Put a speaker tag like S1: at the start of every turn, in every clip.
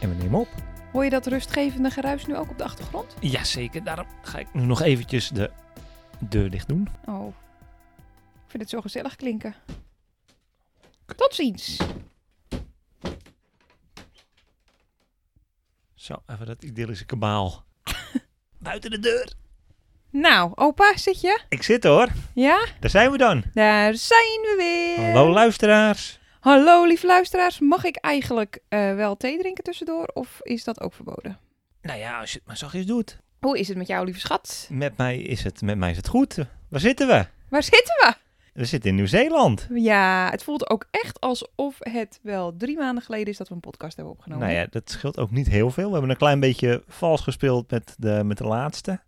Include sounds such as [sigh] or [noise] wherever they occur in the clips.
S1: En we nemen op.
S2: Hoor je dat rustgevende geruis nu ook op de achtergrond?
S1: Jazeker, daarom ga ik nu nog eventjes de deur dicht doen.
S2: Oh, ik vind het zo gezellig klinken. Tot ziens.
S1: Zo, even dat idyllische kabaal. [laughs] Buiten de deur.
S2: Nou, opa, zit je?
S1: Ik zit hoor,
S2: Ja?
S1: daar zijn we dan.
S2: Daar zijn we weer.
S1: Hallo luisteraars.
S2: Hallo, lieve luisteraars. Mag ik eigenlijk eh, wel thee drinken tussendoor of is dat ook verboden?
S1: Nou ja, als je het maar zachtjes doet.
S2: Hoe is het met jou, lieve schat?
S1: Met mij is het, met mij is het goed. Waar zitten we?
S2: Waar zitten we?
S1: We zitten in Nieuw-Zeeland.
S2: Ja, het voelt ook echt alsof het wel drie maanden geleden is dat we een podcast hebben opgenomen.
S1: Nou ja, dat scheelt ook niet heel veel. We hebben een klein beetje vals gespeeld met de, met de laatste.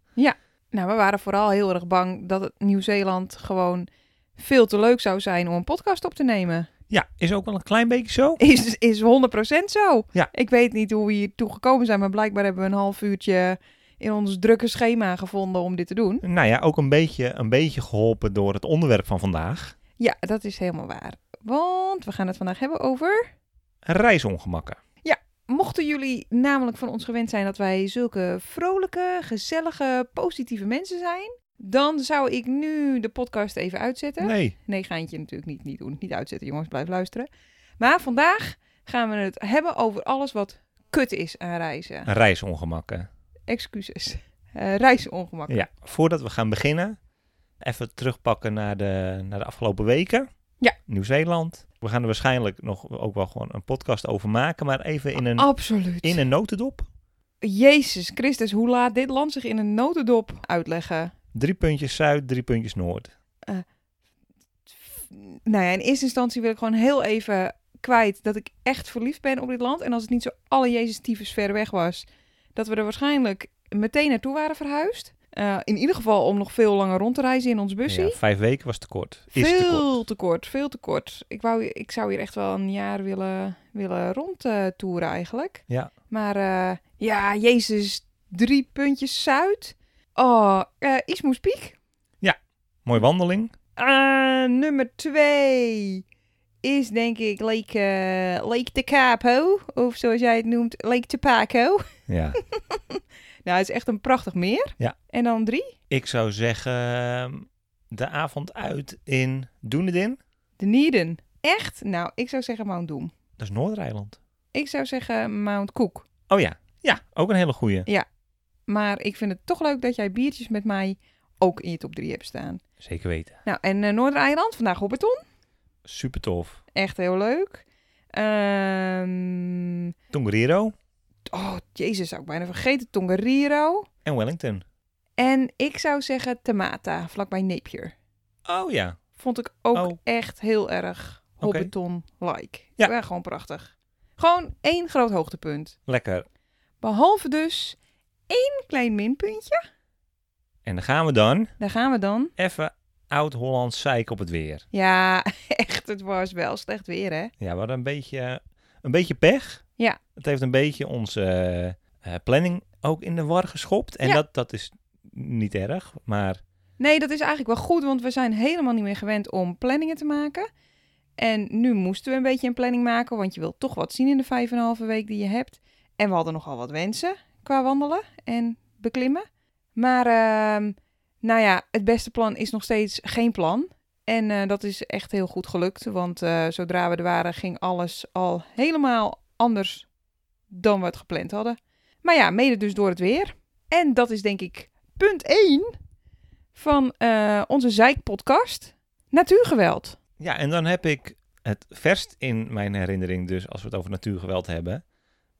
S2: Nou, we waren vooral heel erg bang dat het Nieuw-Zeeland gewoon veel te leuk zou zijn om een podcast op te nemen.
S1: Ja, is ook wel een klein beetje zo.
S2: Is, is 100% zo.
S1: Ja.
S2: Ik weet niet hoe we hier toe gekomen zijn, maar blijkbaar hebben we een half uurtje in ons drukke schema gevonden om dit te doen.
S1: Nou ja, ook een beetje, een beetje geholpen door het onderwerp van vandaag.
S2: Ja, dat is helemaal waar. Want we gaan het vandaag hebben over
S1: Reisongemakken.
S2: Mochten jullie namelijk van ons gewend zijn dat wij zulke vrolijke, gezellige, positieve mensen zijn, dan zou ik nu de podcast even uitzetten. Nee,
S1: Nee.
S2: gaantje natuurlijk niet, niet doen. Niet uitzetten, jongens, blijf luisteren. Maar vandaag gaan we het hebben over alles wat kut is aan reizen.
S1: Reisongemakken.
S2: Excuses. Eh reisongemak.
S1: Ja, voordat we gaan beginnen, even terugpakken naar de, naar de afgelopen weken.
S2: Ja.
S1: Nieuw-Zeeland. We gaan er waarschijnlijk nog ook wel gewoon een podcast over maken, maar even in een,
S2: Absoluut.
S1: in een notendop.
S2: Jezus Christus, hoe laat dit land zich in een notendop uitleggen?
S1: Drie puntjes zuid, drie puntjes noord.
S2: nou ja, in eerste instantie wil ik gewoon heel even kwijt dat ik echt verliefd ben op dit land. En als het niet zo alle Jezus tyfus ver weg was, dat we er waarschijnlijk meteen naartoe waren verhuisd. Eh, in ieder geval om nog veel langer rond te reizen in ons busje.
S1: Ja, vijf weken was te kort. Is te kort.
S2: veel te kort, veel te kort. Ik, wou, ik zou hier echt wel een jaar willen, willen rondtoeren eigenlijk.
S1: Ja.
S2: Maar eh, ja, Jezus, drie puntjes zuid. Oh, eh Ismoes Piek.
S1: Mooi wandeling.
S2: Eh, nummer twee is denk ik Lake, eh, Lake de Capo. Of zoals jij het noemt, Lake de Paco.
S1: Ja.
S2: [laughs] Nou, het is echt een prachtig meer.
S1: Ja.
S2: En dan drie,
S1: [laughs] Ik zou zeggen ehm, de avond uit in Dunedin.
S2: de Nieden. Echt? Nou, ik zou zeggen Mount Doom.
S1: Dat is Noordereiland.
S2: Ik zou zeggen Mount Cook.
S1: Oh ja. Ja, ook een hele goeie.
S2: Maar ik vind het toch leuk dat jij biertjes met mij ook in je top drie hebt staan.
S1: Zeker weten.
S2: Nou, en eh, Noordereiland, vandaag op beton.
S1: Super tof.
S2: Echt heel leuk. Ehm,
S1: Tongariro
S2: oh, jezus, zou ik bijna vergeten. Tongariro.
S1: en Wellington.
S2: En ik zou zeggen Temata, vlakbij Napier.
S1: Oh ja.
S2: Vond ik ook
S1: Oh.
S2: echt heel erg
S1: Oké.
S2: Hobbiton-like.
S1: Ja.
S2: Ja. gewoon prachtig. Gewoon één groot hoogtepunt.
S1: Lekker.
S2: Behalve dus één klein minpuntje.
S1: En dan gaan we dan
S2: Daar gaan we dan.
S1: even oud-Hollands zeik op het weer.
S2: Ja, [laughs] echt, het was wel slecht weer, hè?
S1: Ja, we hadden een beetje, een beetje pech.
S2: Ja.
S1: Het heeft een beetje onze eh, eh, planning ook in de war geschopt. En
S2: Ja.
S1: dat, dat is niet erg, maar
S2: Nee, dat is eigenlijk wel goed, want we zijn helemaal niet meer gewend om planningen te maken. En nu moesten we een beetje een planning maken, want je wilt toch wat zien in de vijf en een halve week die je hebt. En we hadden nogal wat wensen qua wandelen en beklimmen. Maar ehm, nou ja, het beste plan is nog steeds geen plan. En eh, dat is echt heel goed gelukt, want eh, zodra we er waren ging alles al helemaal anders dan we het gepland hadden. Maar ja, mede dus door het weer. En dat is denk ik punt 1 van eh, onze zeikpodcast Natuurgeweld.
S1: Ja, en dan heb ik het verst in mijn herinnering, dus als we het over natuurgeweld hebben,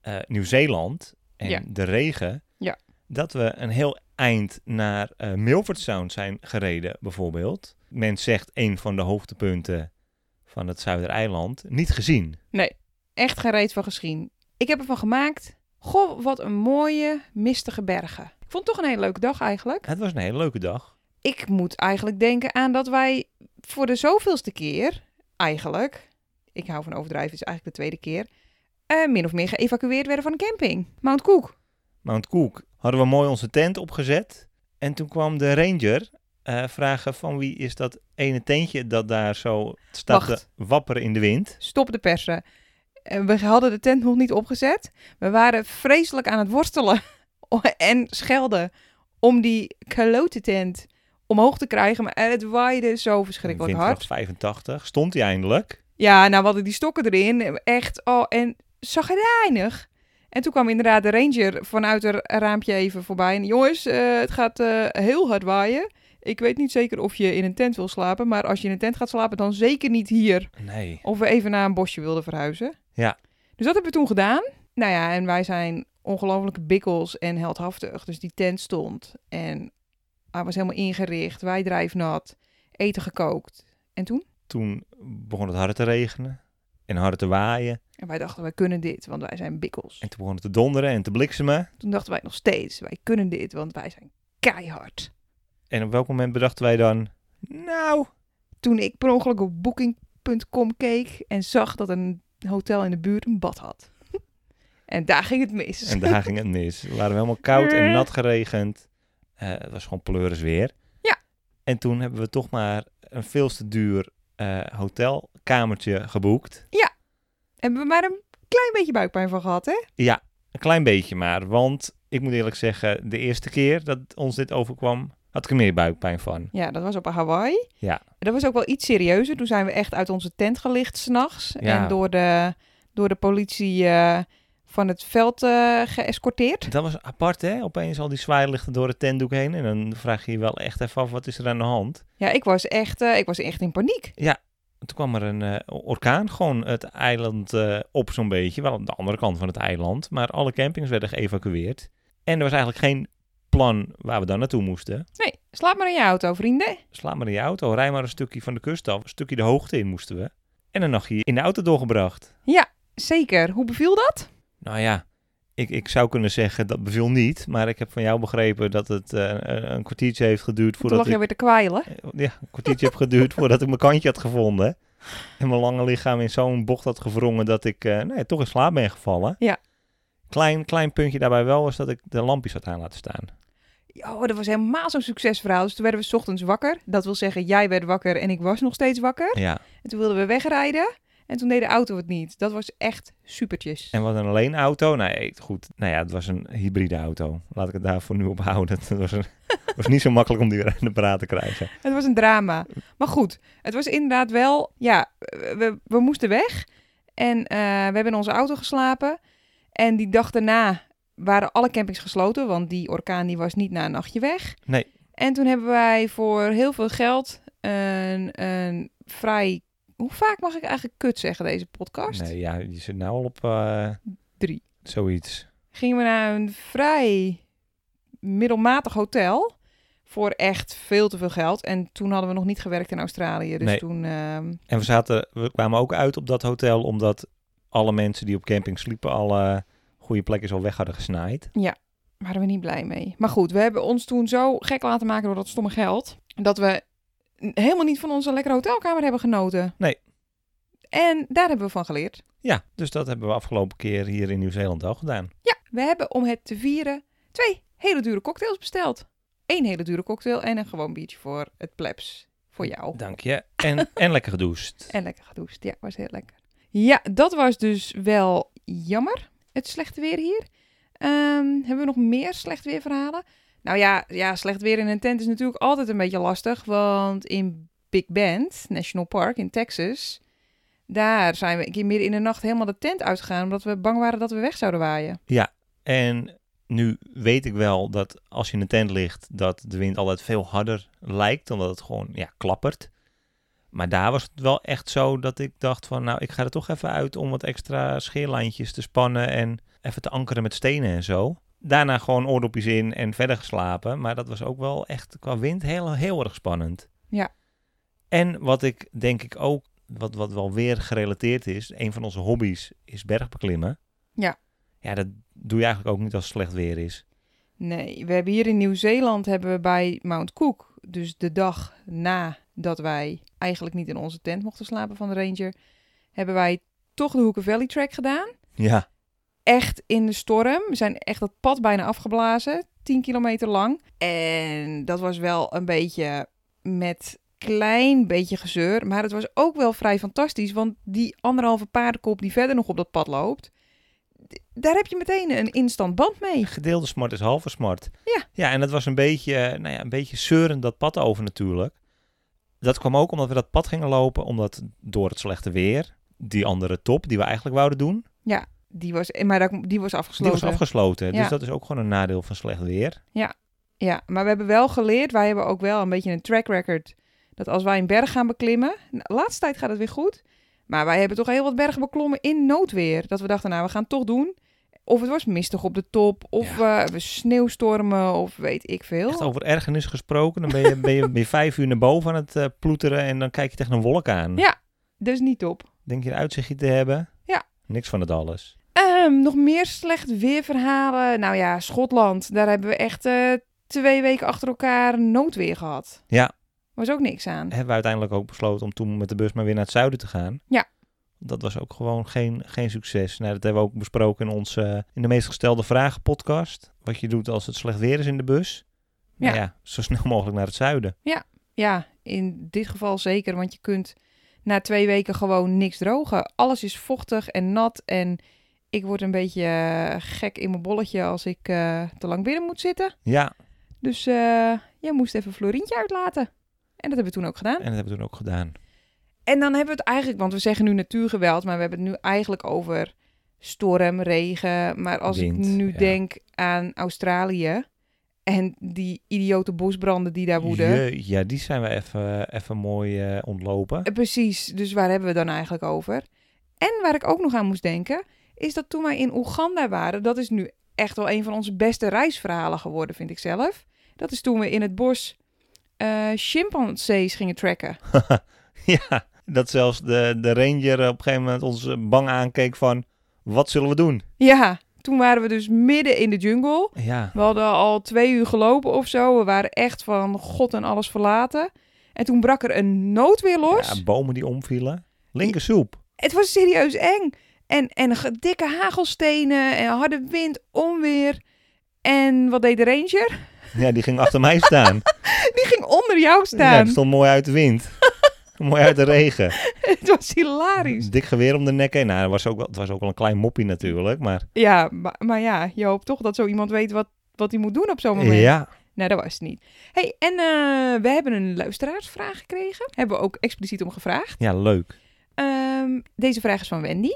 S1: eh, Nieuw-Zeeland en
S2: Ja.
S1: de regen.
S2: Ja.
S1: Dat we een heel eind naar eh, Milford Sound zijn gereden, bijvoorbeeld. Men zegt een van de hoogtepunten van het Zuidereiland niet gezien.
S2: Echt geen reet van gezien. Ik heb ervan gemaakt. Goh, wat een mooie, mistige bergen. Ik vond het toch een hele leuke dag eigenlijk.
S1: Het was een hele leuke dag.
S2: Ik moet eigenlijk denken aan dat wij voor de zoveelste keer, eigenlijk, ik hou van overdrijven, het is eigenlijk de tweede keer, eh, min of meer geëvacueerd werden van een camping. Mount Cook.
S1: Mount Cook hadden we mooi onze tent opgezet. En toen kwam de ranger eh, vragen van wie is dat ene tentje dat daar zo staat te
S2: Wacht.
S1: wapperen in de wind.
S2: Stop de persen. Eh, We hadden de tent nog niet opgezet. We waren vreselijk aan het worstelen [laughs] en schelden om die kalote tent omhoog te krijgen. Maar het waaide zo verschrikkelijk hard.
S1: Windkracht 85. Stond hij eindelijk.
S2: Ja, nou, we hadden die stokken erin. Echt, oh, en zagrijnig. En toen kwam inderdaad de ranger vanuit haar raampje even voorbij. En jongens, eh, het gaat eh, heel hard waaien. Ik weet niet zeker of je in een tent wil slapen. Maar als je in een tent gaat slapen, dan zeker niet hier.
S1: Nee.
S2: Of we even naar een bosje wilden verhuizen.
S1: Ja.
S2: Dus dat hebben we toen gedaan. Nou ja, en wij zijn ongelooflijke bikkels en heldhaftig. Dus die tent stond. En hij was helemaal ingericht. Wij drijfnat. Eten gekookt. En toen?
S1: Toen begon het harder te regenen en harder te waaien.
S2: En wij dachten, wij kunnen dit, want wij zijn bikkels.
S1: En toen begon het te donderen en te bliksemen.
S2: Toen dachten wij nog steeds, wij kunnen dit, want wij zijn keihard.
S1: En op welk moment bedachten wij dan... Nou,
S2: Toen ik per ongeluk op booking.com keek en zag dat een hotel in de buurt een bad had. [laughs] en daar ging het mis.
S1: En daar ging het mis. We waren helemaal koud en nat geregend. Eh, het was gewoon pleuris weer.
S2: Ja.
S1: En toen hebben we toch maar een veel te duur eh, hotelkamertje geboekt.
S2: Hebben we maar een klein beetje buikpijn van gehad, hè?
S1: Een klein beetje maar, want ik moet eerlijk zeggen, de eerste keer dat ons dit overkwam, had ik er meer buikpijn van.
S2: Ja, dat was op Hawaii.
S1: Ja.
S2: Dat was ook wel iets serieuzer. Toen zijn we echt uit onze tent gelicht s'nachts.
S1: Ja.
S2: En door de, door de politie eh, van het veld eh, geëscorteerd.
S1: Dat was apart, hè? Opeens al die zwaailichten door het tentdoek heen. En dan vraag je je wel echt even af, wat is er aan de hand?
S2: Ja, ik was echt, eh, ik was echt in paniek.
S1: En Toen kwam er een eh, orkaan gewoon het eiland eh, op zo'n beetje. Wel aan de andere kant van het eiland. Maar alle campings werden geëvacueerd. En er was eigenlijk geen plan waar we dan naartoe moesten.
S2: Nee, slaap maar in je auto, vrienden.
S1: Sla maar in je auto, rij maar een stukje van de kust af. Een stukje de hoogte in moesten we. En een nachtje in de auto doorgebracht.
S2: Zeker. Hoe beviel dat?
S1: Nou ja, ik, ik zou kunnen zeggen dat beviel niet. Maar ik heb van jou begrepen dat het eh, een, een kwartiertje heeft geduurd
S2: Toen lag
S1: voordat
S2: je
S1: ik...
S2: weer te kwijlen.
S1: Ja, een kwartiertje heb geduurd voordat ik mijn kantje had gevonden. En mijn lange lichaam in zo'n bocht had gewrongen dat ik eh, nee, toch in slaap ben gevallen.
S2: Ja.
S1: Klein, klein puntje daarbij wel was dat ik de lampjes had aan laten staan. Eh.
S2: Oh, dat was helemaal zo'n succesverhaal. Dus toen werden we 's ochtends wakker. Dat wil zeggen, jij werd wakker en ik was nog steeds wakker.
S1: Ja.
S2: En toen wilden we wegrijden. En toen deed de auto het niet. Dat was echt supertjes.
S1: En wat een alleen auto. Nee, goed. Nou ja, het was een hybride auto. Laat ik het daarvoor nu op houden. [laughs] Het was, een, was niet zo makkelijk om die aan de praat te krijgen.
S2: Het was een drama. Maar goed, het was inderdaad wel... Ja, we, we moesten weg. En eh, we hebben in onze auto geslapen. En die dag daarna waren alle campings gesloten. Want die orkaan die was niet na een nachtje weg.
S1: Nee.
S2: En toen hebben wij voor heel veel geld een, een vrij... Hoe vaak mag ik eigenlijk kut zeggen deze podcast?
S1: Nee, ja, je zit nou al op eh,
S2: Drie.
S1: zoiets.
S2: Gingen we naar een vrij middelmatig hotel voor echt veel te veel geld. En toen hadden we nog niet gewerkt in Australië. Dus
S1: Nee.
S2: toen... ehm,
S1: En we, zaten, we kwamen ook uit op dat hotel omdat alle mensen die op camping sliepen alle goede plekjes al weg hadden gesnaaid.
S2: waren we niet blij mee. Maar goed, we hebben ons toen zo gek laten maken door dat stomme geld. Dat we n- helemaal niet van onze lekkere hotelkamer hebben genoten.
S1: Nee.
S2: En daar hebben we van geleerd.
S1: Ja, dus dat hebben we afgelopen keer hier in Nieuw-Zeeland al gedaan.
S2: Ja, we hebben om het te vieren twee hele dure cocktails besteld. Eén hele dure cocktail en een gewoon biertje voor het plebs. Voor jou.
S1: Dank je. En, en lekker gedoucht.
S2: En lekker gedoucht. Ja, was heel lekker. Ja, dat was dus wel jammer. Het slechte weer hier. Ehm, hebben we nog meer slecht weer verhalen? Nou ja, ja, slecht weer in een tent is natuurlijk altijd een beetje lastig. Want in Big Bend National Park in Texas... daar zijn we een keer midden in de nacht helemaal de tent uitgegaan... omdat we bang waren dat we weg zouden waaien.
S1: En nu weet ik wel dat als je in een tent ligt, dat de wind altijd veel harder lijkt, omdat het gewoon ja, klappert. Maar daar was het wel echt zo dat ik dacht van, nou, ik ga er toch even uit om wat extra scheerlijntjes te spannen en even te ankeren met stenen en zo. daarna gewoon oordopjes in en verder geslapen. Maar dat was ook wel echt qua wind heel, heel erg spannend.
S2: Ja.
S1: En wat ik denk ik ook, wat, wat wel weer gerelateerd is, een van onze hobby's is bergbeklimmen.
S2: Ja.
S1: Ja, dat doe je eigenlijk ook niet als het slecht weer is.
S2: Nee, we hebben hier in Nieuw-Zeeland hebben we bij Mount Cook, dus de dag nadat wij eigenlijk niet in onze tent mochten slapen van de ranger, hebben wij toch de Hoeken Valley Track gedaan.
S1: Ja.
S2: Echt in de storm. We zijn echt dat pad bijna afgeblazen, 10 kilometer lang. En dat was wel een beetje met klein beetje gezeur, maar het was ook wel vrij fantastisch, want die anderhalve paardenkop die verder nog op dat pad loopt, d- daar heb je meteen een instant band mee.
S1: Gedeelde smart is halve smart.
S2: Ja.
S1: Ja, en dat was een beetje, eh, nou ja, een beetje zeurend dat pad over natuurlijk. Dat kwam ook omdat we dat pad gingen lopen, omdat door het slechte weer, die andere top die we eigenlijk wouden doen,
S2: Die was, eh, maar daar- die was
S1: die
S2: afgesloten.
S1: was afgesloten.
S2: Ja.
S1: Dus dat is ook gewoon een nadeel van slecht weer.
S2: Ja, maar we hebben wel geleerd, wij hebben ook wel een beetje een track record. Dat als wij een berg gaan beklimmen, nou, de laatste tijd gaat het weer goed. Maar wij hebben toch heel wat bergen beklommen in noodweer. Dat we dachten, nou, we gaan het toch doen. Of het was mistig op de top, of eh, we sneeuwstormen, of weet ik veel.
S1: Echt over ergernis gesproken. Dan ben je, ben
S2: [laughs]
S1: je, ben je vijf uur naar boven aan het eh, ploeteren en dan kijk je tegen een wolk aan.
S2: Ja. Dus niet top.
S1: Denk je een uitzichtje te hebben?
S2: Ja.
S1: Niks van het alles.
S2: Ehm, nog meer slecht weerverhalen. Nou ja, Schotland. Daar hebben we echt eh, twee weken achter elkaar noodweer gehad.
S1: Ja.
S2: Was ook niks aan.
S1: Hebben we uiteindelijk ook besloten om toen met de bus maar weer naar het zuiden te gaan.
S2: Ja.
S1: Dat was ook gewoon geen, geen succes. Nou, dat hebben we ook besproken in onze eh, in de meest gestelde vragen podcast. Wat je doet als het slecht weer is in de bus.
S2: Ja.
S1: Nou ja, zo snel [laughs] mogelijk naar het zuiden.
S2: Ja, in dit geval zeker, want je kunt na twee weken gewoon niks drogen. Alles is vochtig en nat en ik word een beetje eh, gek in mijn bolletje als ik eh, te lang binnen moet zitten.
S1: Ja,
S2: Dus eh, jij moest even Florientje uitlaten. En dat hebben we toen ook gedaan.
S1: en dat hebben we toen ook gedaan.
S2: En dan hebben we het eigenlijk, want we zeggen nu natuurgeweld, maar we hebben het nu eigenlijk over storm, regen. Maar als
S1: Wind,
S2: ik nu
S1: ja.
S2: denk aan Australië en die idiote bosbranden die daar woeden.
S1: Jee, ja, die zijn we even, even mooi eh, ontlopen.
S2: Eh, Precies, dus waar hebben we het dan eigenlijk over? En waar ik ook nog aan moest denken, is dat toen wij in Oeganda waren, dat is nu echt wel een van onze beste reisverhalen geworden, vind ik zelf. Dat is toen we in het bos eh chimpansees gingen trekken.
S1: Ja, dat zelfs de, de ranger op een gegeven moment ons eh, bang aankeek van... Wat zullen we doen?
S2: Ja, toen waren we dus midden in de jungle.
S1: Ja,
S2: We hadden al twee uur gelopen of zo. We waren echt van God en alles verlaten. En toen brak er een noodweer los.
S1: ja bomen die omvielen. Linkersoep.
S2: Het was serieus eng. En, en ge- dikke hagelstenen en harde wind, onweer. En wat deed de ranger?
S1: Ja, die ging achter mij staan.
S2: Die ging onder jou
S1: Ja,
S2: staan.
S1: die stond mooi uit de wind. mooi uit de regen.
S2: [laughs] Het was hilarisch.
S1: Dik geweer om de nek heen. Nou, dat was ook wel, het was ook wel een klein moppie natuurlijk, maar...
S2: Ja, maar, maar ja, je hoopt toch dat zo iemand weet wat, wat hij moet doen op zo'n moment.
S1: Ja,
S2: Nou, dat was het niet. hey, en eh, we hebben een luisteraarsvraag gekregen. Hebben we ook expliciet om gevraagd.
S1: ja, leuk.
S2: Ehm, deze vraag is van Wendy.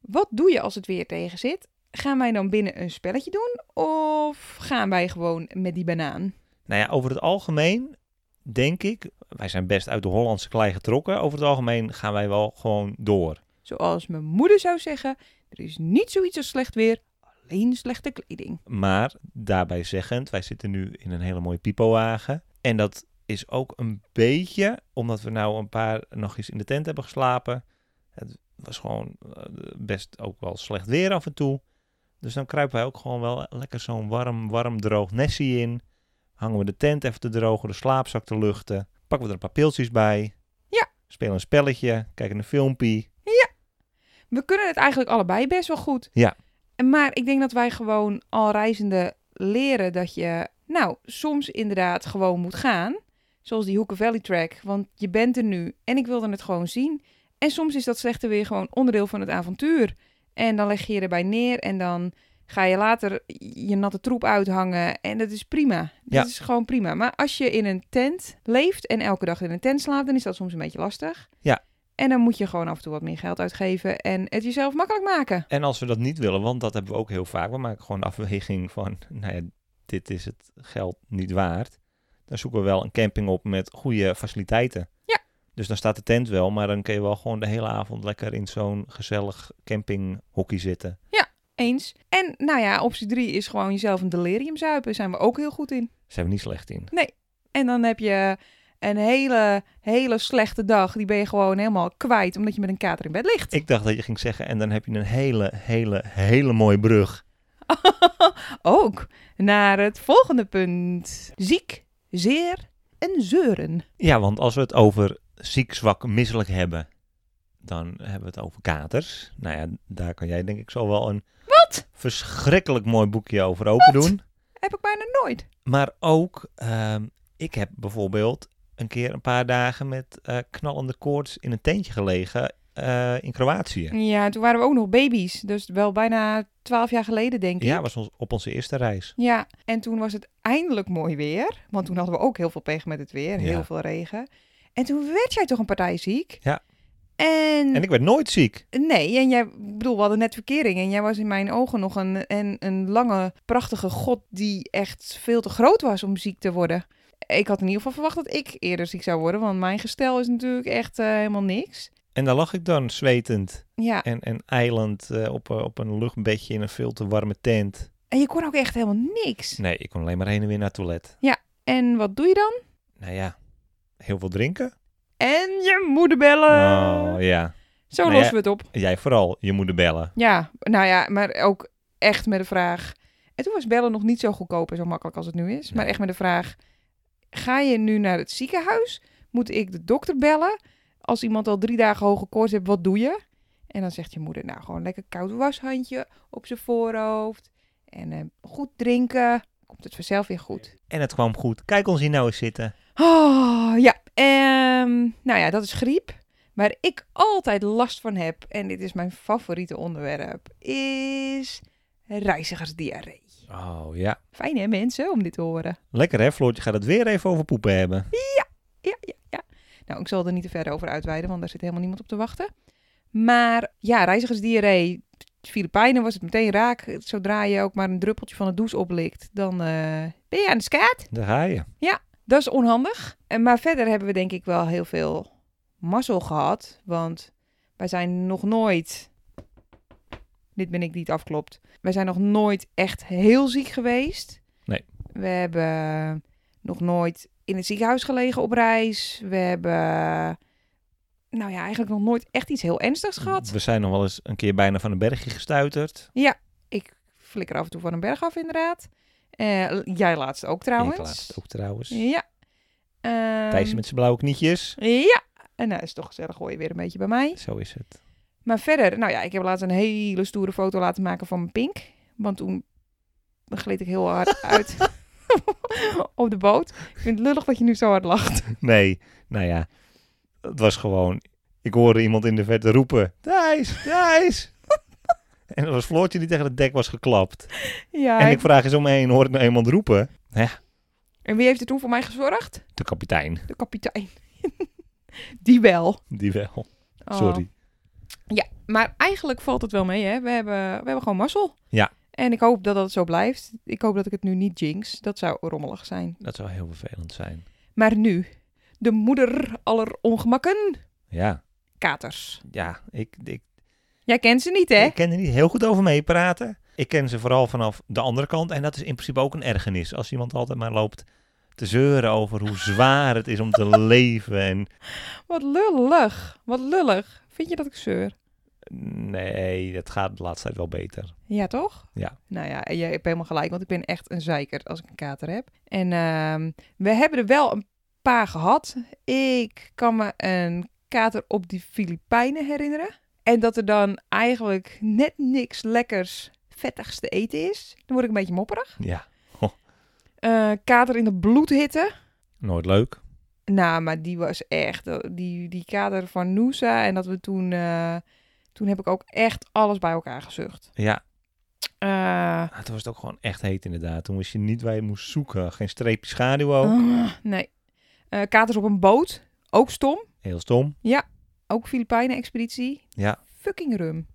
S2: Wat doe je als het weer tegen zit? Gaan wij dan binnen een spelletje doen? Of gaan wij gewoon met die banaan?
S1: Nou ja, over het algemeen denk ik... Wij zijn best uit de Hollandse klei getrokken. Over het algemeen gaan wij wel gewoon door.
S2: Zoals mijn moeder zou zeggen, er is niet zoiets als slecht weer, alleen slechte kleding.
S1: Maar daarbij zeggend, wij zitten nu in een hele mooie pipowagen. En dat is ook een beetje, omdat we nou een paar nog eens in de tent hebben geslapen. Het was gewoon eh, best ook wel slecht weer af en toe. Dus dan kruipen wij ook gewoon wel lekker zo'n warm, warm droog nestje in. Hangen we de tent even te drogen, de slaapzak te luchten. Pakken we er een paar pilsjes bij.
S2: Ja.
S1: Spelen een spelletje, kijken een filmpje.
S2: We kunnen het eigenlijk allebei best wel goed.
S1: Ja.
S2: En Maar ik denk dat wij gewoon al reizende leren dat je, nou, soms inderdaad gewoon moet gaan. Zoals die Hoeken Valley Track, want je bent er nu en ik wilde het gewoon zien. En soms is dat slechte weer gewoon onderdeel van het avontuur. En dan leg je je erbij neer en dan ga je later je natte troep uithangen. En dat is prima. Dat
S1: Ja.
S2: is gewoon prima. Maar als je in een tent leeft en elke dag in een tent slaapt, dan is dat soms een beetje lastig.
S1: Ja.
S2: En dan moet je gewoon af en toe wat meer geld uitgeven en het jezelf makkelijk maken.
S1: En als we dat niet willen, want dat hebben we ook heel vaak, we maken gewoon een afweging van, nou ja, dit is het geld niet waard. Dan zoeken we wel een camping op met goede faciliteiten.
S2: Ja.
S1: Dus dan staat de tent wel, maar dan kun je wel gewoon de hele avond lekker in zo'n gezellig campinghokkie zitten.
S2: Eens. En nou ja, optie 3 is gewoon jezelf een delirium zuipen. Daar zijn we ook heel goed in.
S1: zijn we niet slecht in.
S2: En dan heb je een hele, hele slechte dag. Die ben je gewoon helemaal kwijt omdat je met een kater in bed ligt. [laughs]
S1: Ik dacht dat je ging zeggen, en dan heb je een hele, hele, hele mooie brug.
S2: ook naar het volgende punt. Ziek, zeer en zeuren.
S1: Ja, want als we het over ziek, zwak, misselijk hebben, dan hebben we het over katers. Nou ja, daar kan jij denk ik zo wel een
S2: Wat?
S1: verschrikkelijk mooi boekje over open
S2: Wat?
S1: doen.
S2: Heb ik bijna nooit.
S1: Maar ook, ehm, ik heb bijvoorbeeld een keer een paar dagen met eh, knallende koorts in een tentje gelegen eh, in Kroatië.
S2: Ja, toen waren we ook nog baby's. Dus wel bijna twaalf jaar geleden, denk
S1: Ja,
S2: ik.
S1: was ons, op onze eerste reis.
S2: Ja, en toen was het eindelijk mooi weer. Want toen hadden we ook heel veel pech met het weer. Heel
S1: Ja.
S2: veel regen. En toen werd jij toch een partij ziek?
S1: Ja.
S2: En,
S1: En ik werd nooit ziek.
S2: nee, en jij, ik bedoel, we hadden net verkering. En jij was in mijn ogen nog een, een, een lange, prachtige god die echt veel te groot was om ziek te worden. Ik had in ieder geval verwacht dat ik eerder ziek zou worden. Want mijn gestel is natuurlijk echt eh, helemaal niks.
S1: En daar lag ik dan zwetend
S2: Ja,
S1: en, en eilend eh, op, eh, op een luchtbedje in een veel te warme tent.
S2: en je kon ook echt helemaal niks.
S1: Nee, ik kon alleen maar heen en weer naar het toilet.
S2: En wat doe je dan?
S1: Nou ja, heel veel drinken.
S2: En je moeder bellen.
S1: Oh ja,
S2: Zo
S1: nou ja.
S2: lossen we het op.
S1: jij vooral, je moeder bellen.
S2: Ja, nou ja, maar ook echt met de vraag. En toen was bellen nog niet zo goedkoop en zo makkelijk als het nu is. Maar
S1: Nee.
S2: echt met de vraag: ga je nu naar het ziekenhuis? Moet ik de dokter bellen? Als iemand al drie dagen hoge koorts heeft, wat doe je? En dan zegt je moeder: nou, gewoon lekker koud washandje op zijn voorhoofd. En eh, goed drinken. Komt het vanzelf weer goed.
S1: En het kwam goed. Kijk ons hier nou eens zitten.
S2: Oh, ja. Ehm, nou ja, dat is griep. Waar ik altijd last van heb, en dit is mijn favoriete onderwerp, is reizigersdiarree.
S1: Oh ja.
S2: Fijn hè mensen, om dit te horen.
S1: Lekker hè, Floortje gaat het weer even over poepen hebben.
S2: Ja, ja, ja. Nou, ik zal er niet te ver over uitweiden, want daar zit helemaal niemand op te wachten. Maar ja, reizigersdiarree. Filipijnen was het meteen raak. Zodra je ook maar een druppeltje van het douche oplikt, dan eh, ben je aan de skaat.
S1: Daar ga je.
S2: Dat is onhandig. En maar verder hebben we denk ik wel heel veel mazzel gehad. Want wij zijn nog nooit... Dit ben ik die het afklopt. Wij zijn nog nooit echt heel ziek geweest.
S1: Nee.
S2: We hebben nog nooit in het ziekenhuis gelegen op reis. We hebben... Nou ja, eigenlijk nog nooit echt iets heel ernstigs gehad.
S1: We zijn nog wel eens een keer bijna van een bergje gestuiterd.
S2: Ik flikker af en toe van een berg af inderdaad. Eh, jij laatst ook trouwens.
S1: Ik laatst ook trouwens.
S2: Ja. Ehm,
S1: Thijs met zijn blauwe knietjes.
S2: Ja, en nou is het toch gezellig, gooi je weer een beetje bij mij.
S1: Zo is het.
S2: Maar verder, nou ja, ik heb laatst een hele stoere foto laten maken van mijn pink. Want toen gleed ik heel
S1: [laughs]
S2: hard uit [laughs] op de boot. Ik vind het lullig dat je nu zo hard lacht.
S1: Nee, nou ja. Het was gewoon... Ik hoorde iemand in de verte roepen. Thijs,
S2: [laughs]
S1: Thijs. en dat was Floortje die tegen het dek was geklapt.
S2: Ja,
S1: En ik vraag eens om me heen, hoor ik nou iemand roepen?
S2: en wie heeft er toen voor mij gezorgd?
S1: De kapitein.
S2: De kapitein. [laughs] Die wel.
S1: Die wel.
S2: Oh.
S1: Sorry.
S2: Maar eigenlijk valt het wel mee, hè. We hebben, we hebben gewoon mazzel.
S1: Ja.
S2: En ik hoop dat dat zo blijft. Ik hoop dat ik het nu niet jinx. Dat zou rommelig zijn.
S1: Dat zou heel vervelend zijn.
S2: Maar nu, de moeder aller ongemakken,
S1: Ja,
S2: katers.
S1: ja. Ik, ik,
S2: Jij kent ze niet, hè?
S1: ik ken er niet heel goed over meepraten. Ik ken ze vooral vanaf de andere kant. En dat is in principe ook een ergernis. Als iemand altijd maar loopt te zeuren over
S2: [laughs]
S1: hoe zwaar het is om te leven. En
S2: Wat lullig. Wat lullig. Vind je dat ik zeur?
S1: Nee, dat gaat de laatste tijd wel beter.
S2: Ja, toch?
S1: Ja.
S2: Nou ja, en jij hebt helemaal gelijk, want ik ben echt een zeiker als ik een kater heb. En ehm, we hebben er wel een paar gehad. Ik kan me een kater op die Filipijnen herinneren. En dat er dan eigenlijk net niks lekkers, vettigs te eten is. Dan word ik een beetje mopperig.
S1: Ja,
S2: Eh, kater in de bloedhitte.
S1: nooit leuk.
S2: Nou, maar die was echt, eh, die, die kader van Noosa en dat we toen, eh, toen heb ik ook echt alles bij elkaar gezucht.
S1: Ja,
S2: Eh,
S1: ah, toen was het ook gewoon echt heet inderdaad. Toen wist je niet waar je moest zoeken. Geen streepje schaduw ook.
S2: ah, nee. Eh, katers op een boot, ook stom,
S1: Heel stom.
S2: ook Filipijnen-expeditie.
S1: Ja.
S2: Fucking rum.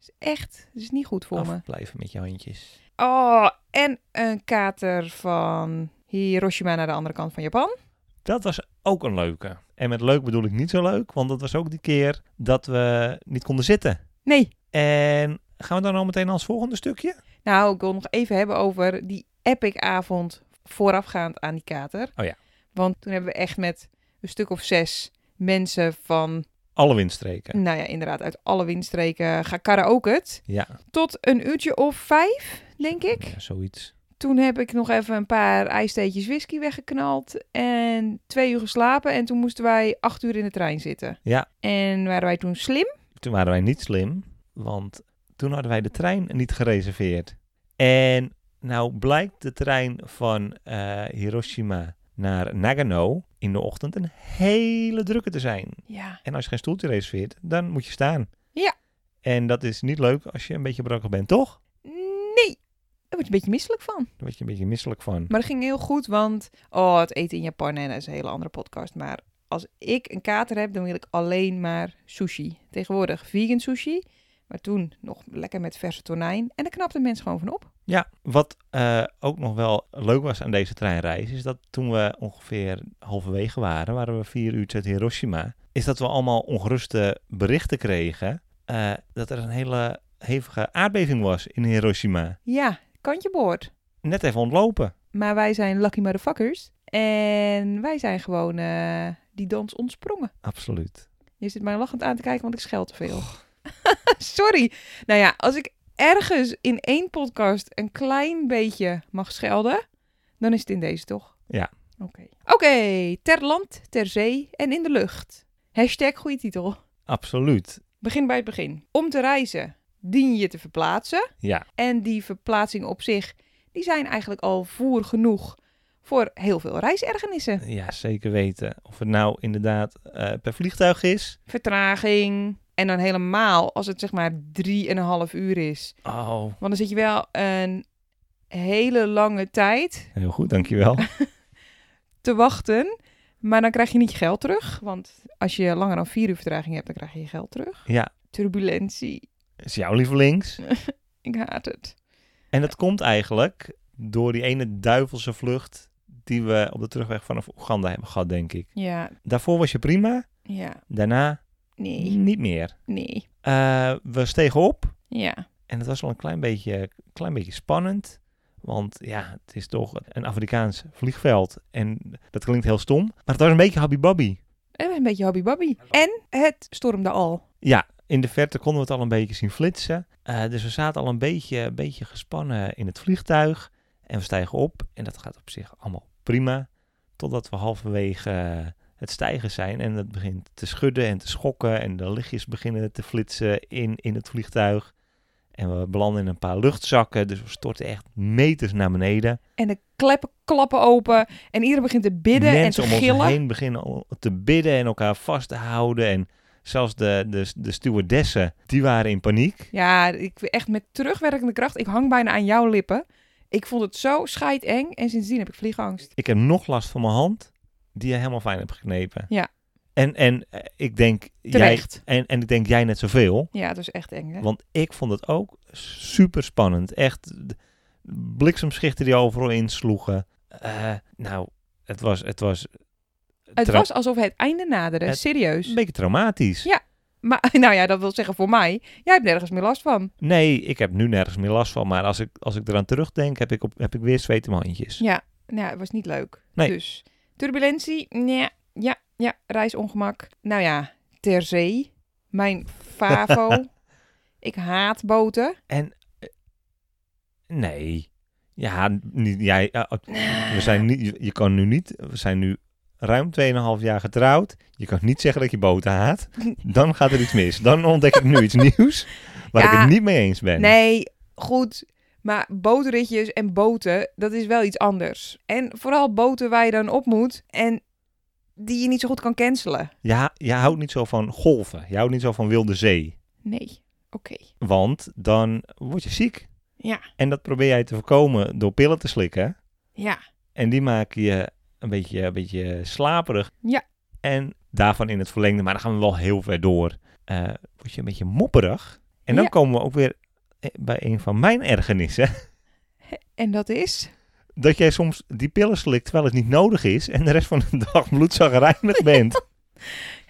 S2: Is echt, is niet goed voor me.
S1: Afblijven met je handjes.
S2: Oh, en een kater van Hiroshima naar de andere kant van Japan.
S1: Dat was ook een leuke. En met leuk bedoel ik niet zo leuk, want dat was ook die keer dat we niet konden zitten.
S2: Nee,
S1: En eh, Gaan we dan al meteen als volgende stukje?
S2: Nou, ik wil nog even hebben over die epic avond voorafgaand aan die kater.
S1: Oh ja.
S2: Want toen hebben we echt met een stuk of zes mensen van,
S1: Alle windstreken.
S2: nou ja, inderdaad, uit alle windstreken gaan karaoke het.
S1: Ja, nou
S2: Tot een uurtje of vijf, denk ik.
S1: ja, zoiets.
S2: Toen heb ik nog even een paar ijsteetjes whisky weggeknald en twee uur geslapen. En toen moesten wij acht uur in de trein zitten.
S1: Ja.
S2: En waren wij toen slim?
S1: Toen waren wij niet slim, want toen hadden wij de trein niet gereserveerd. En nou blijkt de trein van eh, Hiroshima naar Nagano in de ochtend een hele drukke te zijn.
S2: Ja.
S1: En als je geen stoeltje reserveert, dan moet je staan.
S2: Ja.
S1: En dat is niet leuk als je een beetje brakkig bent, toch?
S2: Nee, daar word je een beetje misselijk van.
S1: Daar word je een beetje misselijk van.
S2: Maar dat ging heel goed, want oh, het eten in Japan en dat is een hele andere podcast. Maar als ik een kater heb, dan wil ik alleen maar sushi. Tegenwoordig vegan sushi, maar toen nog lekker met verse tonijn. En daar knapten mensen gewoon van op.
S1: Ja, wat eh, ook nog wel leuk was aan deze treinreis, is dat toen we ongeveer halverwege waren, waren we vier uur uit Hiroshima, is dat we allemaal ongeruste berichten kregen eh, dat er een hele hevige aardbeving was in Hiroshima.
S2: Ja, kantje boord.
S1: Net even ontlopen.
S2: Maar wij zijn lucky motherfuckers. En wij zijn gewoon eh, die dans ontsprongen.
S1: Absoluut.
S2: Je zit mij lachend aan te kijken, want ik scheld te veel. [laughs] Sorry. Nou ja, als ik ergens in één podcast een klein beetje mag schelden, dan is het in deze toch?
S1: Ja.
S2: Oké. Oké, ter land, ter zee en in de lucht. Hashtag goede titel.
S1: Absoluut.
S2: Begin bij het begin. Om te reizen dien je te verplaatsen.
S1: Ja,
S2: En die verplaatsingen op zich, die zijn eigenlijk al voer genoeg voor heel veel reisergernissen.
S1: ja, zeker weten. Of het nou inderdaad eh, per vliegtuig is.
S2: Vertraging. En dan helemaal als het zeg maar drieënhalf uur is.
S1: Oh,
S2: Want dan zit je wel een hele lange tijd
S1: heel goed, [laughs] dankjewel.
S2: te wachten. Maar dan krijg je niet je geld terug. Want als je langer dan vier uur vertraging hebt, dan krijg je je geld terug.
S1: ja,
S2: Turbulentie.
S1: is jouw lievelings.
S2: Ik haat het.
S1: En dat komt eigenlijk door die ene duivelse vlucht die we op de terugweg vanaf Oeganda hebben gehad, denk ik.
S2: Ja,
S1: Daarvoor was je prima,
S2: ja.
S1: daarna
S2: Nee,
S1: niet meer.
S2: nee.
S1: Eh, we stegen op
S2: Ja,
S1: en het was wel een klein beetje, klein beetje spannend. Want ja, het is toch een Afrikaans vliegveld en dat klinkt heel stom. Maar het was een beetje habibabbi.
S2: en een beetje hobby-babby. En het stormde al.
S1: Ja, in de verte konden we het al een beetje zien flitsen. Eh, dus we zaten al een beetje, een beetje gespannen in het vliegtuig. En we stijgen op. En dat gaat op zich allemaal prima. Totdat we halverwege eh, het stijgen zijn. En het begint te schudden en te schokken. En de lichtjes beginnen te flitsen in, in het vliegtuig. En we belanden in een paar luchtzakken. Dus we storten echt meters naar beneden.
S2: En de kleppen klappen open. En iedereen begint te bidden
S1: Mensen
S2: en te
S1: om
S2: gillen.
S1: ons heen beginnen al te bidden en elkaar vast te houden. En zelfs de, de, de stewardessen, die waren in paniek.
S2: Ja, ik, echt met terugwerkende kracht. Ik hang bijna aan jouw lippen. Ik vond het zo scheideng. En sindsdien heb ik vliegangst.
S1: Ik heb nog last van mijn hand, die je helemaal fijn hebt geknepen.
S2: Ja.
S1: En, en eh, ik denk
S2: Terecht.
S1: jij en, en ik denk jij net zoveel.
S2: Ja, het was echt eng. Hè?
S1: Want ik vond het ook super spannend. Echt de bliksemschichten die overal insloegen. Eh, nou, het was, het was
S2: Het
S1: trau-
S2: was alsof het einde naderde.
S1: Het-
S2: Serieus.
S1: een beetje traumatisch.
S2: Ja. Maar [laughs] nou ja, dat wil zeggen voor mij. Jij hebt nergens meer last van.
S1: Nee, ik heb nu nergens meer last van. Maar als ik, als ik eraan terugdenk, heb ik, op, heb ik weer zweet in mijn handjes.
S2: Ja, nou, het was niet leuk.
S1: Nee.
S2: Dus turbulentie. Nee, ja, ja, reisongemak. Nou ja, ter zee. Mijn
S1: [laughs]
S2: favo. ik haat boten.
S1: Nee. Ja, niet, jij, eh,
S2: Nou.
S1: we zijn niet, je- je kan nu niet, we zijn nu ruim 2,5 jaar getrouwd. Je kan niet zeggen dat je boten
S2: [laughs]
S1: haat. Dan gaat er iets mis. Dan ontdek ik nu iets nieuws waar ik
S2: Ja.
S1: het niet mee eens ben.
S2: Nee, goed. Maar boterritjes en boten, dat is wel iets anders. En vooral boten waar je dan op moet en die je niet zo goed kan cancelen.
S1: Ja, je houdt niet zo van golven. Je houdt niet zo van wilde zee.
S2: Nee, oké.
S1: Want dan word je ziek.
S2: Ja.
S1: En dat probeer jij te voorkomen door pillen te slikken.
S2: Ja,
S1: En die maken je een beetje, een beetje slaperig.
S2: Ja.
S1: En daarvan in het verlengde, maar dan gaan we wel heel ver door, eh, word je een beetje mopperig. En dan
S2: Ja.
S1: komen we ook weer eh, bij een van mijn ergernissen. [laughs]
S2: en dat is?
S1: Dat jij soms die pillen slikt terwijl het niet nodig is en de rest van de [laughs] dag bloedzagrijnig
S2: [laughs]
S1: bent.
S2: Ja,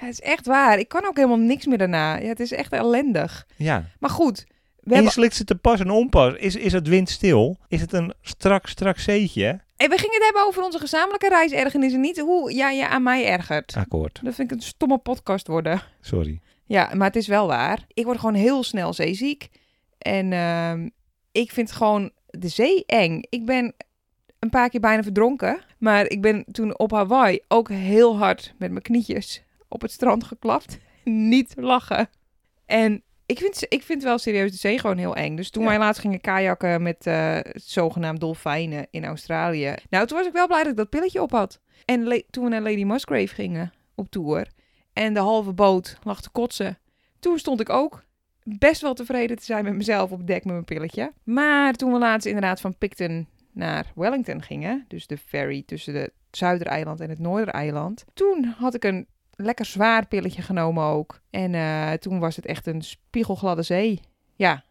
S2: het is echt waar. Ik kan ook helemaal niks meer daarna. Ja, het is echt ellendig.
S1: Ja,
S2: Maar goed, We
S1: en je
S2: hebben...
S1: slikt ze te pas en onpas. Is, is het windstil? Is het een strak, strak zeetje?
S2: Hey, we gingen het hebben over onze gezamenlijke reisergernissen. Niet hoe jij je aan mij ergert.
S1: Akkoord.
S2: Dat vind ik een stomme podcast worden.
S1: Sorry.
S2: Ja, maar het is wel waar. Ik word gewoon heel snel zeeziek. En ehm, ik vind gewoon de zee eng. Ik ben een paar keer bijna verdronken. Maar ik ben toen op Hawaii ook heel hard met mijn knietjes op het strand geklapt. [laughs] Niet lachen. En ik vind, ik vind wel serieus de zee gewoon heel eng. Dus toen
S1: Ja.
S2: wij laatst gingen kajakken met eh zogenaamd dolfijnen in Australië. Nou, toen was ik wel blij dat ik dat pilletje op had. En le- toen we naar Lady Musgrave gingen op tour. En de halve boot lag te kotsen. Toen stond ik ook best wel tevreden te zijn met mezelf op dek met mijn pilletje. Maar toen we laatst inderdaad van Picton naar Wellington gingen, dus de ferry tussen het Zuidereiland en het Noordereiland, toen had ik een lekker zwaar pilletje genomen ook. En eh, toen was het echt een spiegelgladde zee. Ja,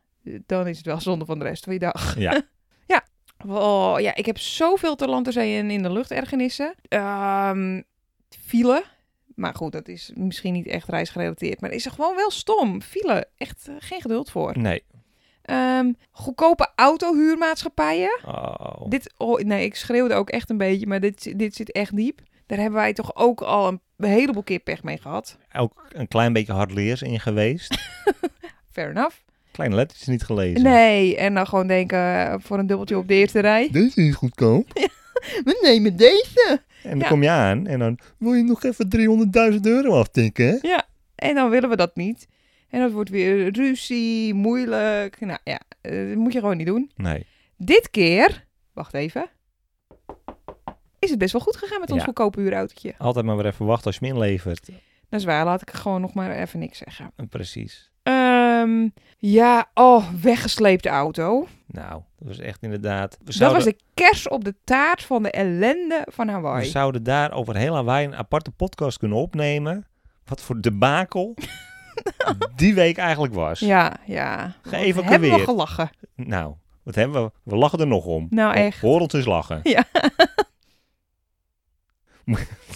S2: dan is het wel zonde van de rest van je dag.
S1: Ja.
S2: [laughs] ja. Oh, ja, ik heb zoveel te land, ter zee en in de lucht ergernissen. Ehm file. Maar goed, dat is misschien niet echt reisgerelateerd. Maar is er gewoon wel stom. File. Echt eh, geen geduld voor.
S1: Nee.
S2: Ehm, goedkope autohuurmaatschappijen.
S1: Oh.
S2: Dit, oh, nee, ik schreeuwde ook echt een beetje, maar dit, dit zit echt diep. Daar hebben wij toch ook al een heleboel keer pech mee gehad.
S1: Ook een klein beetje hardleers in geweest.
S2: Fair enough.
S1: Kleine letters niet gelezen.
S2: Nee, en dan gewoon denken eh, voor een dubbeltje op de eerste rij.
S1: Deze is goedkoop.
S2: We nemen deze.
S1: En dan
S2: Ja.
S1: kom je aan en dan wil je nog even 300.000 euro aftikken. hè?
S2: En dan willen we dat niet. En dat wordt weer ruzie, moeilijk. Nou ja, eh, dat moet je gewoon niet doen.
S1: Nee.
S2: Dit keer, wacht even, is het best wel goed gegaan met ons
S1: Ja.
S2: goedkope huurautootje.
S1: Altijd maar weer even wachten als je hem inlevert.
S2: Dat is waar, laat ik gewoon nog maar even niks zeggen.
S1: Eh, Precies.
S2: Ehm, ja, oh, weggesleepte auto.
S1: Nou, dat was echt inderdaad... We
S2: Dat was
S1: zouden,
S2: de kers op de taart van de ellende van
S1: we
S2: Hawaii.
S1: zouden daar over heel Hawaii een aparte podcast kunnen opnemen. Wat voor
S2: [laughs]
S1: debakel die week eigenlijk was.
S2: Ja, ja. Wat
S1: Geëvacueerd.
S2: Hebben we gelachen.
S1: Nou, wat hebben we? We lachen er nog om.
S2: Nou, echt.
S1: Hoor ons eens lachen.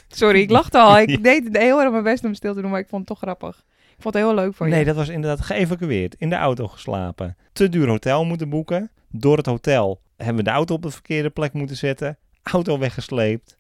S2: Sorry, ik lachte
S1: [laughs]
S2: al.
S1: Ja.
S2: Ik deed heel erg mijn best om stil te doen, maar ik vond het toch grappig. Ik vond het heel leuk van je.
S1: Nee, dat was inderdaad geëvacueerd. In de auto geslapen. Te duur hotel moeten boeken. Door het hotel hebben we de auto op de verkeerde plek moeten zetten. Auto weggesleept.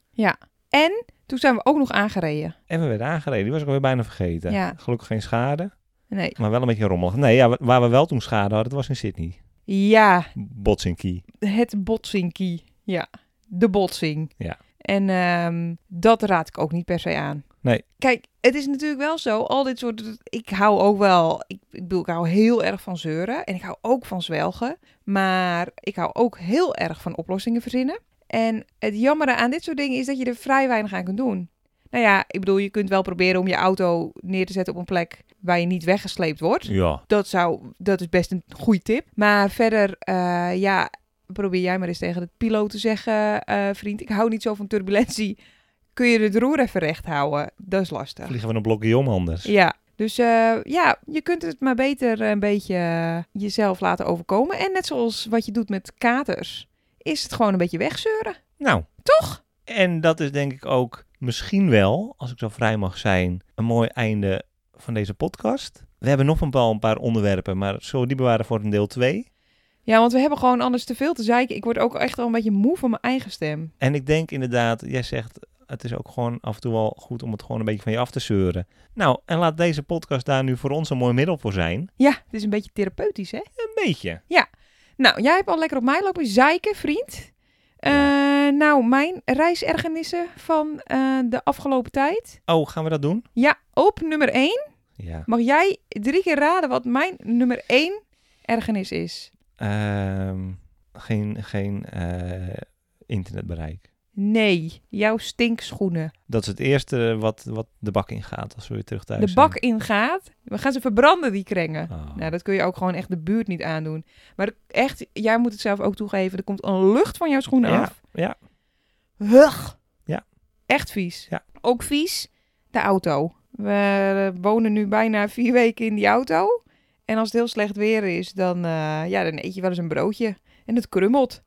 S2: Toen zijn we ook nog aangereden.
S1: En we werden aangereden. Die was ik alweer bijna vergeten.
S2: Ja.
S1: Gelukkig geen schade,
S2: Nee.
S1: maar wel een beetje rommelig. Nee, ja, wa- waar we wel toen schade hadden, dat was in Sydney.
S2: Ja,
S1: Botsinki.
S2: het botsinkie. Ja, de botsing.
S1: Ja.
S2: En ehm, dat raad ik ook niet per se aan.
S1: Nee.
S2: Kijk, het is natuurlijk wel zo. Al dit soort... Ik hou ook wel... Ik, ik bedoel, ik hou heel erg van zeuren. En ik hou ook van zwelgen. Maar ik hou ook heel erg van oplossingen verzinnen. En het jammere aan dit soort dingen is dat je er vrij weinig aan kunt doen. Nou ja, ik bedoel, je kunt wel proberen om je auto neer te zetten op een plek waar je niet weggesleept wordt.
S1: Ja.
S2: Dat, zou, dat is best een goede tip. Maar verder, eh, ja, probeer jij maar eens tegen de piloot te zeggen... eh, vriend, ik hou niet zo van turbulentie. Kun je het roer even recht houden? Dat is lastig.
S1: Vliegen we een blokje om anders.
S2: Ja, dus eh, ja, je kunt het maar beter een beetje eh, jezelf laten overkomen. En net zoals wat je doet met katers, is het gewoon een beetje wegzeuren.
S1: Nou.
S2: Toch?
S1: En dat is denk ik ook misschien wel, als ik zo vrij mag zijn, een mooi einde van deze podcast. We hebben nog een paar, een paar onderwerpen, maar zullen we die bewaren voor een deel 2?
S2: Ja, want we hebben gewoon anders te veel te zeiken. Ik word ook echt al een beetje moe van mijn eigen stem.
S1: En ik denk inderdaad, jij zegt, het is ook gewoon af en toe wel goed om het gewoon een beetje van je af te zeuren. Nou, en laat deze podcast daar nu voor ons een mooi middel voor zijn.
S2: Ja, het is een beetje therapeutisch, hè?
S1: Een beetje.
S2: Nou, jij hebt al lekker op mij lopen zeiken, vriend. Eh, nou, mijn reisergernissen van eh, de afgelopen tijd.
S1: Oh, gaan we dat doen?
S2: Ja, op nummer 1
S1: Ja.
S2: mag jij drie keer raden wat mijn nummer 1 ergernis is.
S1: Ehm, geen geen eh, internetbereik.
S2: Nee, jouw stinkschoenen.
S1: Dat is het eerste wat, wat de bak ingaat als we weer terug thuis
S2: de
S1: zijn.
S2: bak ingaat. We gaan ze verbranden, die krengen.
S1: Oh.
S2: Nou, dat kun je ook gewoon echt de buurt niet aandoen. Maar echt, jij moet het zelf ook toegeven. Er komt een lucht van jouw schoenen
S1: Ja,
S2: af.
S1: ja.
S2: Hug.
S1: Ja.
S2: Echt vies.
S1: Ja.
S2: Ook vies, de auto. We eh, wonen nu bijna vier weken in die auto. En als het heel slecht weer is, dan, eh, ja, dan eet je wel eens een broodje. En het krummelt.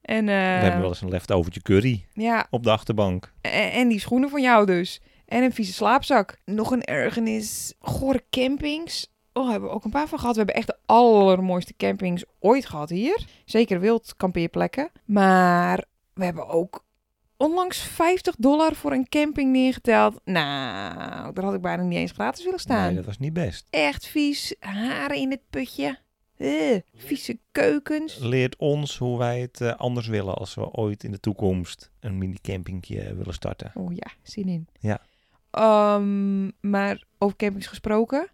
S2: En, eh,
S1: We hebben wel eens een leftovertje curry
S2: ja,
S1: op de achterbank.
S2: en, en die schoenen van jou dus. En een vieze slaapzak. Nog een ergernis. Gore campings. Oh, hebben we ook een paar van gehad. We hebben echt de allermooiste campings ooit gehad hier. Zeker wild kampeerplekken. Maar we hebben ook onlangs 50 dollar voor een camping neergeteld. Nou, daar had ik bijna niet eens gratis willen staan.
S1: Nee, dat was niet best.
S2: Echt vies. Haren in het putje. Eh, vieze keukens.
S1: Leert ons hoe wij het eh, anders willen als we ooit in de toekomst een mini-campingje willen starten.
S2: Oh ja, zin in.
S1: Ja.
S2: Ehm, maar over campings gesproken.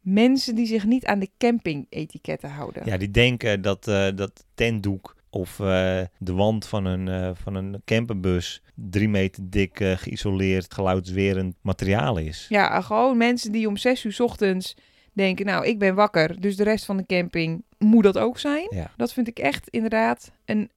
S2: Mensen die zich niet aan de camping-etiketten houden.
S1: Ja, die denken dat eh, dat tentdoek of eh, de wand van een, eh, van een camperbus drie meter dik eh, geïsoleerd geluidswerend materiaal is.
S2: Ja, gewoon mensen die om zes uur 's ochtends denken, nou, ik ben wakker, dus de rest van de camping moet dat ook zijn.
S1: Ja.
S2: Dat vind ik echt inderdaad een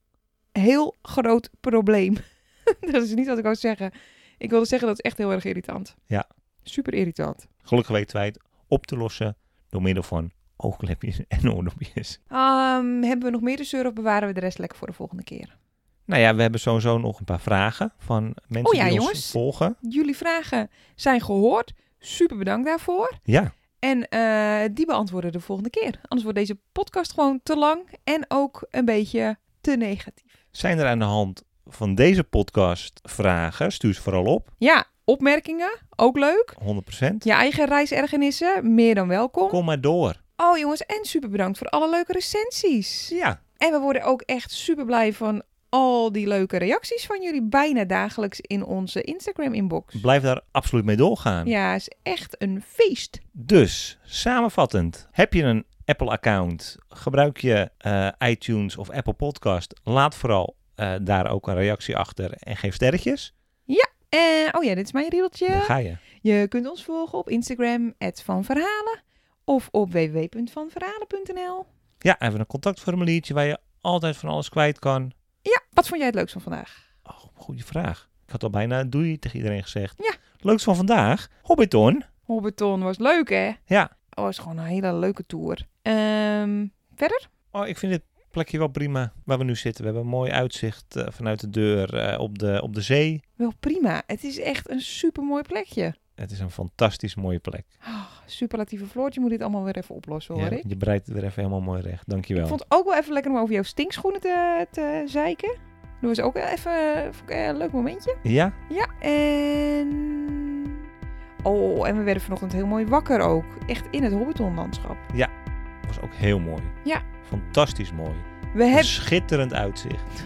S2: heel groot probleem. [laughs] dat is niet wat ik wou zeggen. Ik wilde zeggen dat is echt heel erg irritant.
S1: Ja.
S2: Super irritant.
S1: Gelukkig weten wij het op te lossen door middel van oogklepjes [laughs] en oordopjes.
S2: Ehm, hebben we nog meer de zeur of bewaren we de rest lekker voor de volgende keer?
S1: Nou ja, we hebben sowieso nog een paar vragen van mensen
S2: Oh ja,
S1: die ons
S2: jongens.
S1: volgen.
S2: Jullie vragen zijn gehoord. Super bedankt daarvoor.
S1: Ja,
S2: En eh, die beantwoorden we de volgende keer. Anders wordt deze podcast gewoon te lang en ook een beetje te negatief.
S1: zijn er aan de hand van deze podcast vragen? Stuur ze vooral op,
S2: Ja, opmerkingen, ook leuk.
S1: 100%.
S2: Je eigen reisergenissen, meer dan welkom.
S1: Kom maar door.
S2: Oh jongens, en super bedankt voor alle leuke recensies.
S1: Ja,
S2: En we worden ook echt super blij van al die leuke reacties van jullie bijna dagelijks in onze Instagram-inbox.
S1: blijf daar absoluut mee doorgaan.
S2: Ja, is echt een feest.
S1: Dus, samenvattend, heb je een Apple-account, gebruik je eh, iTunes of Apple Podcast, laat vooral eh, daar ook een reactie achter en geef sterretjes.
S2: Eh, oh ja, dit is mijn riedeltje.
S1: Dan ga je.
S2: Je kunt ons volgen op Instagram, @vanverhalen of op www.vanverhalen.nl.
S1: Ja, even een contactformuliertje waar je altijd van alles kwijt kan.
S2: Ja, wat vond jij het leukst van vandaag?
S1: Oh, goede vraag. Ik had al bijna doei tegen iedereen gezegd.
S2: Ja.
S1: Leuks van vandaag, Hobbiton.
S2: Hobbiton was leuk, hè?
S1: Ja.
S2: Oh, was gewoon een hele leuke tour. Ehm,
S1: Oh, ik vind dit plekje wel prima waar we nu zitten. We hebben een mooi uitzicht eh, vanuit de deur eh, op, de, op de zee.
S2: wel prima. Het is echt een supermooi plekje.
S1: Het is een fantastisch mooie plek.
S2: Ah, superlatieve Floortje moet dit allemaal weer even oplossen, hoor
S1: Ja,
S2: ik.
S1: je breidt het weer even helemaal mooi recht. Dankjewel.
S2: Ik vond het ook wel even lekker om over jouw stinkschoenen te, te zeiken. Dat was ook wel even vond ik, eh, een leuk momentje.
S1: Ja?
S2: Ja, en... Oh, en we werden vanochtend heel mooi wakker ook. Echt in het Hobbitonlandschap.
S1: was ook heel mooi.
S2: Ja.
S1: Fantastisch mooi.
S2: We
S1: Een
S2: hebben...
S1: schitterend uitzicht.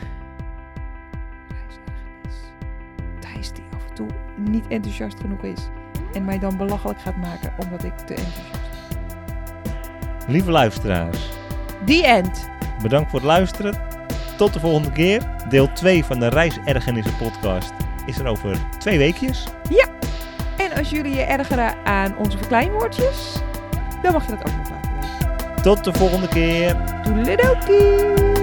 S2: Dus Thijs die af en toe niet enthousiast genoeg is. En mij dan belachelijk gaat maken omdat ik te enthousiast
S1: Lieve luisteraars,
S2: ben. The end.
S1: bedankt voor het luisteren. Tot de volgende keer. Deel 2 van de Reisergenissen podcast is er over twee weekjes.
S2: En als jullie je ergeren aan onze verkleinwoordjes, dan mag je dat ook nog laten weten.
S1: Tot de volgende keer.
S2: Toedeledokie!